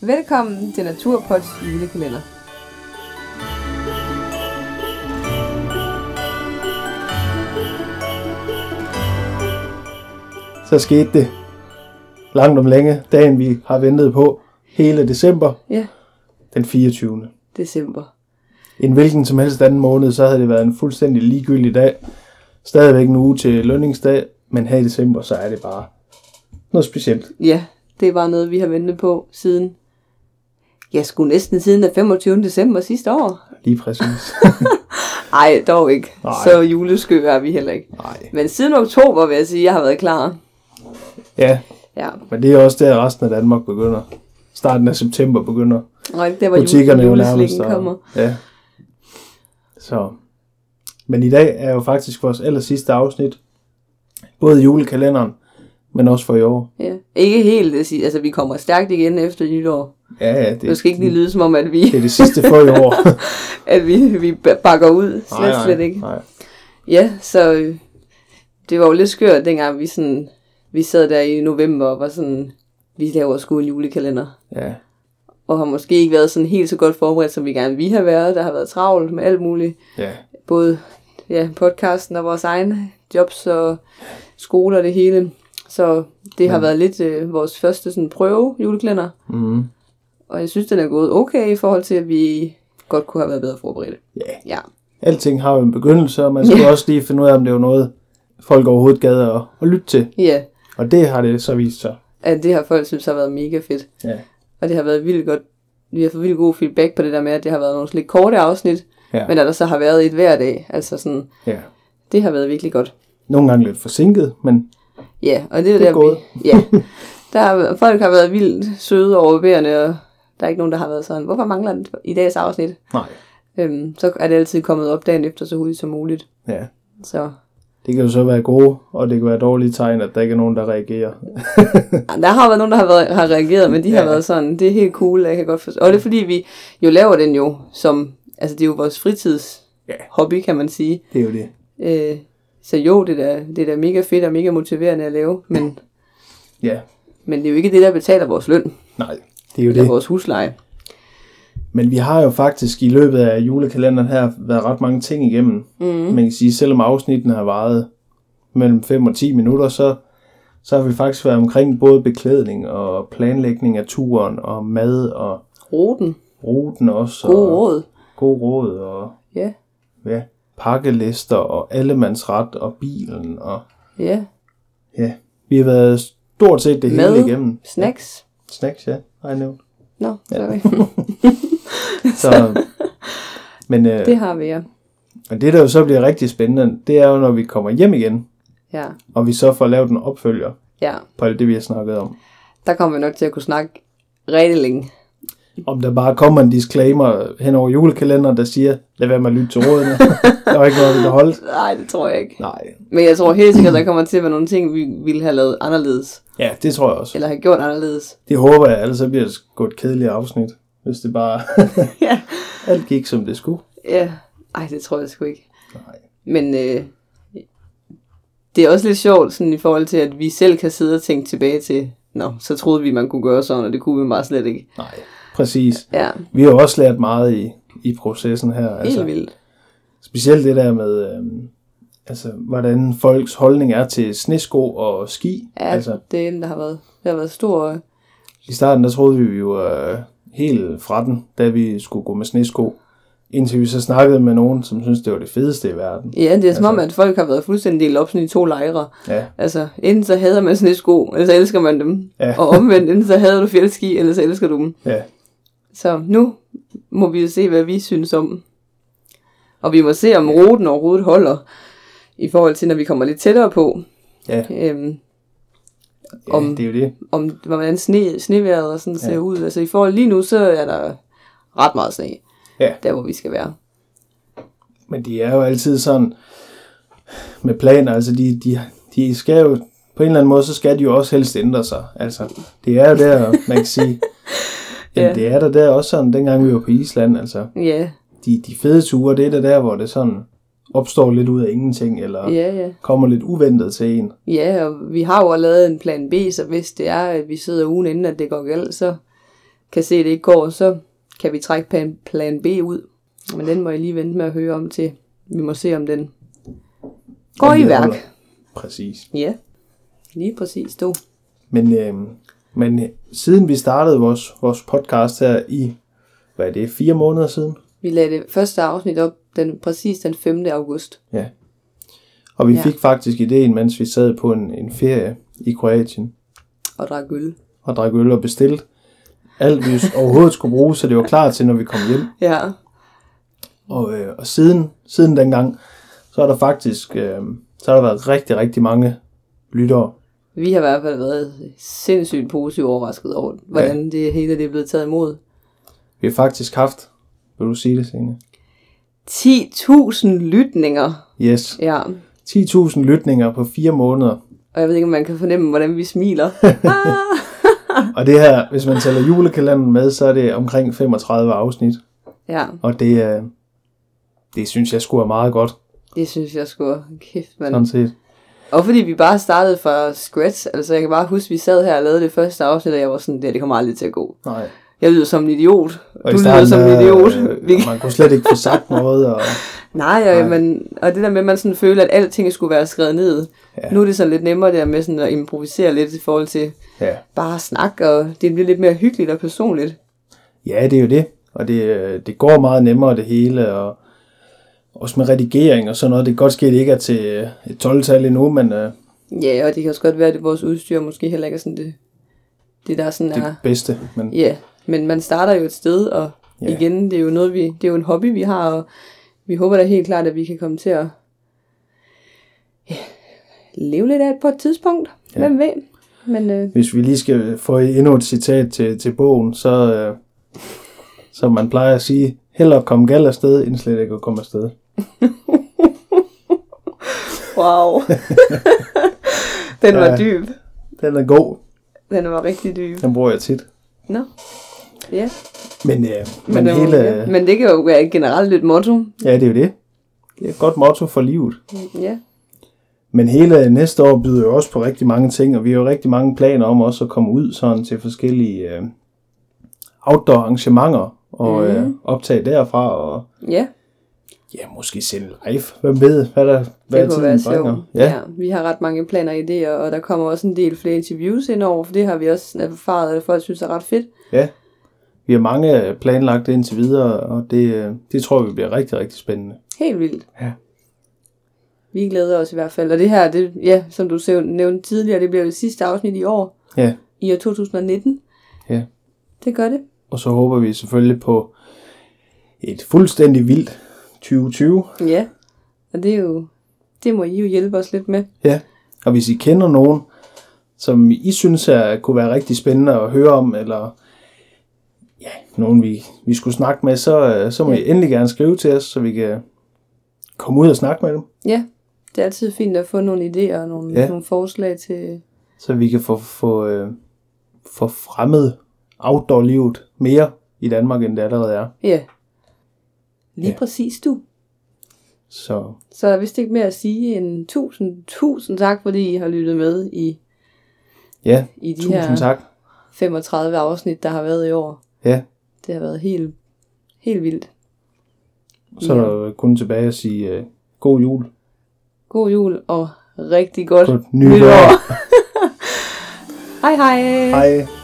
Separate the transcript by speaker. Speaker 1: Velkommen til Naturpods julekalender.
Speaker 2: Så skete det langt om længe, dagen vi har ventet på hele december,
Speaker 1: Ja,
Speaker 2: den 24.
Speaker 1: december.
Speaker 2: En hvilken som helst anden måned, så havde det været en fuldstændig ligegyldig dag. Stadigvæk en uge til lønningsdag, men her i december, så er det bare noget specielt.
Speaker 1: Ja, det var noget, vi har ventet på siden... Jeg skulle næsten siden den 25. december sidste år.
Speaker 2: Lige præcis.
Speaker 1: Ej, dog ikke.
Speaker 2: Nej.
Speaker 1: Så juleskø er vi heller ikke.
Speaker 2: Nej.
Speaker 1: Men siden oktober vil jeg sige, at jeg har været klar.
Speaker 2: Ja,
Speaker 1: Ja,
Speaker 2: men det er også der resten af Danmark begynder. Starten af september begynder
Speaker 1: og ikke der, hvor
Speaker 2: butikkerne
Speaker 1: jule-
Speaker 2: jo nærmest. øh,
Speaker 1: juleslikken kommer.
Speaker 2: ja. Så. Men i dag er jo faktisk vores aller sidste afsnit. Både julekalenderen, men også for i år.
Speaker 1: Ja. Ikke helt, det siger- altså vi kommer stærkt igen efter nytår.
Speaker 2: Ja, ja, det,
Speaker 1: Det skal ikke lige lyde som om, at vi,
Speaker 2: det er det sidste for i år.
Speaker 1: at vi, vi bakker ud. Slet, nej, nej. slet ikke.
Speaker 2: Nej.
Speaker 1: Ja, så øh, det var jo lidt skørt, dengang vi, sådan, vi sad der i november og var sådan, vi laver sgu en julekalender.
Speaker 2: Ja,
Speaker 1: Og har måske ikke været sådan helt så godt forberedt, som vi gerne vi har været. Der har været travlt med alt muligt.
Speaker 2: ja.
Speaker 1: Både ja, podcasten og vores egne jobs og skoler og det hele. Så det har været lidt øh, vores første sådan, prøve julekalender.
Speaker 2: Mm.
Speaker 1: Og jeg synes, den er gået okay i forhold til, at vi godt kunne have været bedre forberedt.
Speaker 2: ja.
Speaker 1: Ja,
Speaker 2: Alting har jo en begyndelse, og man skulle også lige finde ud af, om det var noget, folk overhovedet gad at, at lytte til.
Speaker 1: ja.
Speaker 2: Og det har det så vist sig.
Speaker 1: At det har folk synes har været mega fedt.
Speaker 2: Ja,
Speaker 1: Og det har været vildt godt. Vi har fået vildt god feedback på det der med, at det har været nogle lidt korte afsnit,
Speaker 2: ja,
Speaker 1: men at der så har været et hver dag. Altså sådan,
Speaker 2: ja.
Speaker 1: det har været virkelig godt.
Speaker 2: Nogle gange lidt forsinket, men
Speaker 1: Ja, og det er
Speaker 2: Det er
Speaker 1: der,
Speaker 2: gået.
Speaker 1: vi, ja. Der har, folk har været vildt søde og overbærende, og der er ikke nogen, der har været sådan, hvorfor mangler den i dagens afsnit?
Speaker 2: nej.
Speaker 1: Øhm, så er det altid kommet op dagen efter så hurtigt som muligt.
Speaker 2: Ja.
Speaker 1: Så
Speaker 2: Det kan jo så være gode, og det kan være dårlige tegn, at der ikke er nogen, der reagerer.
Speaker 1: Ej, ah, Der har været nogen, der har, været, har reageret, men de ja. har
Speaker 2: Ja.
Speaker 1: været sådan, det er helt cool, jeg kan godt forstå. Og det er fordi, vi jo laver den jo som, altså det er jo vores fritids
Speaker 2: Ja.
Speaker 1: hobby, kan man sige.
Speaker 2: Det er jo det.
Speaker 1: Øh, så jo, det er da- det er da mega fedt og mega motiverende at lave, men,
Speaker 2: Ja,
Speaker 1: men det er jo ikke det, der betaler vores løn,
Speaker 2: nej. Det er jo
Speaker 1: eller
Speaker 2: det.
Speaker 1: vores husleje.
Speaker 2: Men vi har jo faktisk i løbet af julekalenderen her været ret mange ting igennem. Mm. Man kan sige, selvom afsnittene har varet mellem 5 og 10 minutter, så, så har vi faktisk været omkring både beklædning og planlægning af turen og mad og
Speaker 1: Ruten,
Speaker 2: ruten også.
Speaker 1: gode
Speaker 2: og,
Speaker 1: råd.
Speaker 2: God råd og
Speaker 1: Ja,
Speaker 2: ja, pakkelister og allemandsret og bilen og
Speaker 1: ja.
Speaker 2: ja, vi har været stort set det
Speaker 1: Mad.
Speaker 2: hele igennem.
Speaker 1: Snacks.
Speaker 2: Snacks, ja. Har I nævnt.
Speaker 1: Nå, sorry.
Speaker 2: Så, men øh,
Speaker 1: det har vi, ja.
Speaker 2: men det, der jo så bliver rigtig spændende, det er jo, når vi kommer hjem igen,
Speaker 1: ja.
Speaker 2: og vi så får lavet en opfølger
Speaker 1: Ja,
Speaker 2: på alt det, vi har snakket om.
Speaker 1: der kommer vi nok til at kunne snakke rigtig længe.
Speaker 2: Om der bare kommer en disclaimer hen over julekalenderen, der siger, lad være med at lytte til rådene. der var ikke noget, der holdt.
Speaker 1: Nej, det tror jeg ikke.
Speaker 2: Nej.
Speaker 1: Men jeg tror helt sikkert, der kommer til at være nogle ting, vi ville have lavet anderledes.
Speaker 2: Ja, det tror jeg også.
Speaker 1: Eller have gjort anderledes.
Speaker 2: Det håber jeg, ellers så bliver det sgu et kedeligt afsnit, hvis det bare
Speaker 1: ja.
Speaker 2: alt gik, som det skulle.
Speaker 1: ja. Ej, det tror jeg sgu ikke.
Speaker 2: Nej.
Speaker 1: Men øh, det er også lidt sjovt sådan, i forhold til, at vi selv kan sidde og tænke tilbage til, Nå, så troede vi, man kunne gøre sådan, og det kunne vi bare slet ikke.
Speaker 2: Nej, præcis.
Speaker 1: Ja,
Speaker 2: Vi har jo også lært meget i, i processen her.
Speaker 1: helt altså. vildt.
Speaker 2: Specielt det der med, øhm, altså, hvordan folks holdning er til snesko og ski.
Speaker 1: Ja,
Speaker 2: Altså,
Speaker 1: altså. det er dem, der har været, der har været stor...
Speaker 2: I starten, der troede vi jo øh, helt fra den, da vi skulle gå med snesko. Indtil vi så snakkede med nogen, som synes det var det fedeste i verden.
Speaker 1: Ja, det er som om, at folk har været fuldstændig delt op sådan i to lejre.
Speaker 2: Ja,
Speaker 1: Altså, enten så hader man snesko, eller så elsker man dem.
Speaker 2: Ja.
Speaker 1: Og omvendt, enten så hader du fjeldski, eller så elsker du dem.
Speaker 2: ja,
Speaker 1: Så nu må vi jo se, hvad vi synes om. Og vi må se, om ruten overhovedet holder, i forhold til, når vi kommer lidt tættere på,
Speaker 2: ja,
Speaker 1: øhm,
Speaker 2: ja
Speaker 1: Om-
Speaker 2: det er jo det.
Speaker 1: om hvordan sne, sneværet og sådan ser
Speaker 2: Ja.
Speaker 1: ud. Altså i forhold lige nu, så er der ret meget sne,
Speaker 2: Ja.
Speaker 1: der hvor vi skal være.
Speaker 2: Men de er jo altid sådan med planer, altså de, de, de skal jo, på en eller anden måde, så skal de jo også helst ændre sig. Altså, det er jo der, man kan sige, jamen,
Speaker 1: Ja.
Speaker 2: det er der der også sådan, dengang vi var på Island, altså,
Speaker 1: Ja,
Speaker 2: de, de fede ture, det er der der, hvor det sådan opstår lidt ud af ingenting, eller
Speaker 1: ja, ja.
Speaker 2: kommer lidt uventet til en.
Speaker 1: Ja, og vi har jo lavet en plan B, så hvis det er, at vi sidder ugen inden, at det går galt, så kan se, at det ikke går, så kan vi trække plan, plan B ud. Men den må jeg lige vente med at høre om til. Vi må se, om den går
Speaker 2: Om
Speaker 1: i
Speaker 2: det
Speaker 1: værk.
Speaker 2: holder. Præcis.
Speaker 1: Ja, lige præcis du.
Speaker 2: Men, øh, men øh, siden vi startede vores, vores podcast her i, hvad er det, fire måneder siden?
Speaker 1: Vi lagde det første afsnit op den, præcis den 5. august.
Speaker 2: Ja. Og vi
Speaker 1: Ja.
Speaker 2: ja. fik faktisk ideen, mens vi sad på en, en ferie i Kroatien
Speaker 1: Og drak øl.
Speaker 2: og drak øl og bestilte alt, vi overhovedet skulle bruge, så det var klar til, når vi kom hjem.
Speaker 1: Ja,
Speaker 2: Og, øh, og siden, siden dengang, så har der faktisk øh, så har der været rigtig, rigtig mange lyttere.
Speaker 1: vi har i hvert fald været sindssygt positivt overrasket over, hvordan det hele det er blevet taget imod.
Speaker 2: Vi har faktisk haft, vil du sige det senere?
Speaker 1: 10.000 lytninger.
Speaker 2: Yes.
Speaker 1: Ja,
Speaker 2: 10.000 lytninger på fire måneder.
Speaker 1: og jeg ved ikke, om man kan fornemme, hvordan vi smiler. ah!
Speaker 2: Og det her, hvis man tæller julekalenderen med, så er det omkring 35 afsnit.
Speaker 1: Ja,
Speaker 2: Og det, øh, det synes jeg skulle er meget godt,
Speaker 1: det synes jeg sgu kæft, mand.
Speaker 2: sådan set.
Speaker 1: Og fordi vi bare startede fra scratch, altså jeg kan bare huske, vi sad her og lavede det første afsnit, og jeg var sådan, det, det kommer aldrig til at gå.
Speaker 2: Nej.
Speaker 1: Jeg lyder som en idiot.
Speaker 2: Og
Speaker 1: du
Speaker 2: i
Speaker 1: lyder
Speaker 2: starten,
Speaker 1: som en
Speaker 2: øh,
Speaker 1: idiot. Vi,
Speaker 2: man kunne slet ikke få sagt noget. Og,
Speaker 1: nej, og,
Speaker 2: Nej.
Speaker 1: Man, og det der med, at man sådan føler, at alting skulle være skrevet ned. Ja.
Speaker 2: Ja.
Speaker 1: Nu er det sådan lidt nemmere der med sådan at improvisere lidt i forhold til
Speaker 2: ja.
Speaker 1: bare at snakke, og det bliver lidt mere hyggeligt og personligt.
Speaker 2: ja, det er jo det. Og det, øh, det går meget nemmere det hele. Og, også med redigering og sådan noget. Det kan godt ske, at det ikke er til øh, et 12-tal endnu, men øh,
Speaker 1: Ja, og det kan også godt være, at vores udstyr måske heller ikke er sådan det, det der sådan
Speaker 2: det
Speaker 1: er.
Speaker 2: bedste. Men
Speaker 1: Ja, men man starter jo et sted, og
Speaker 2: Ja.
Speaker 1: igen, det er jo noget, vi, det er jo en hobby, vi har, og vi håber da helt klart, at vi kan komme til at ja, leve lidt af det på et tidspunkt. Ja.
Speaker 2: Ja.
Speaker 1: Hvem ved? Men øh,
Speaker 2: hvis vi lige skal få endnu et citat til, til bogen, så øh, som man plejer at sige, hellere komme galt afsted, end slet ikke at komme afsted.
Speaker 1: wow. Den var
Speaker 2: Ja.
Speaker 1: dyb.
Speaker 2: Den er god.
Speaker 1: Den var rigtig dyb.
Speaker 2: Den bruger jeg tit.
Speaker 1: Nå. Ja,
Speaker 2: Men, øh,
Speaker 1: men,
Speaker 2: men, men
Speaker 1: det var-
Speaker 2: hele...
Speaker 1: ja. men det kan jo være et generelt et motto.
Speaker 2: Ja, det er jo det. Det er et godt motto for livet.
Speaker 1: Ja,
Speaker 2: Men hele næste år byder jo også på rigtig mange ting, og vi har jo rigtig mange planer om også at komme ud sådan til forskellige øh, outdoor arrangementer og
Speaker 1: Mhm.
Speaker 2: mm. øh, optage derfra og
Speaker 1: ja.
Speaker 2: ja, måske sende live. Hvem ved, hvad der hvad
Speaker 1: det kunne
Speaker 2: tiden
Speaker 1: være sjovt.
Speaker 2: bringer. Ja, ja.
Speaker 1: vi har ret mange planer og idéer, og der kommer også en del flere interviews indover, for det har vi også erfaret, at folk synes er ret fedt.
Speaker 2: ja. Vi har mange øh, planlagt indtil videre, og det, øh, det tror vi bliver rigtig, rigtig spændende.
Speaker 1: Helt vildt.
Speaker 2: Ja.
Speaker 1: Vi glæder os i hvert fald. Og det her, det, ja, som du selv nævnte tidligere, det bliver det sidste afsnit i år,
Speaker 2: Ja,
Speaker 1: i år 2019.
Speaker 2: ja.
Speaker 1: Det gør det.
Speaker 2: Og så håber vi selvfølgelig på et fuldstændig vildt 2020.
Speaker 1: Ja. Og det er jo, det må I jo hjælpe os lidt med.
Speaker 2: Ja, og hvis I kender nogen, som I synes er, kunne være rigtig spændende at høre om, eller ja, nogen vi, vi skulle snakke med, så, øh, så må I endelig gerne skrive til os, så vi kan komme ud og snakke med dem,
Speaker 1: Ja, det er altid fint at få nogle idéer og nogle, ja.
Speaker 2: Ja.
Speaker 1: nogle forslag til...
Speaker 2: så vi kan få, få, øh, få fremmet outdoor-livet mere i Danmark, end det allerede er.
Speaker 1: Ja. Lige ja.
Speaker 2: Ja.
Speaker 1: præcis du.
Speaker 2: Så
Speaker 1: Så er der vist ikke mere at sige end tusind, tusind tak, fordi I har lyttet med i,
Speaker 2: ja,
Speaker 1: i de
Speaker 2: tusind
Speaker 1: her
Speaker 2: tak.
Speaker 1: 35 afsnit, der har været i år.
Speaker 2: Ja,
Speaker 1: Det har været helt, helt vildt.
Speaker 2: så er der kun tilbage at sige øh, god jul.
Speaker 1: God jul og rigtig godt,
Speaker 2: Godt nytår.
Speaker 1: nytår. hej hej.
Speaker 2: Hej.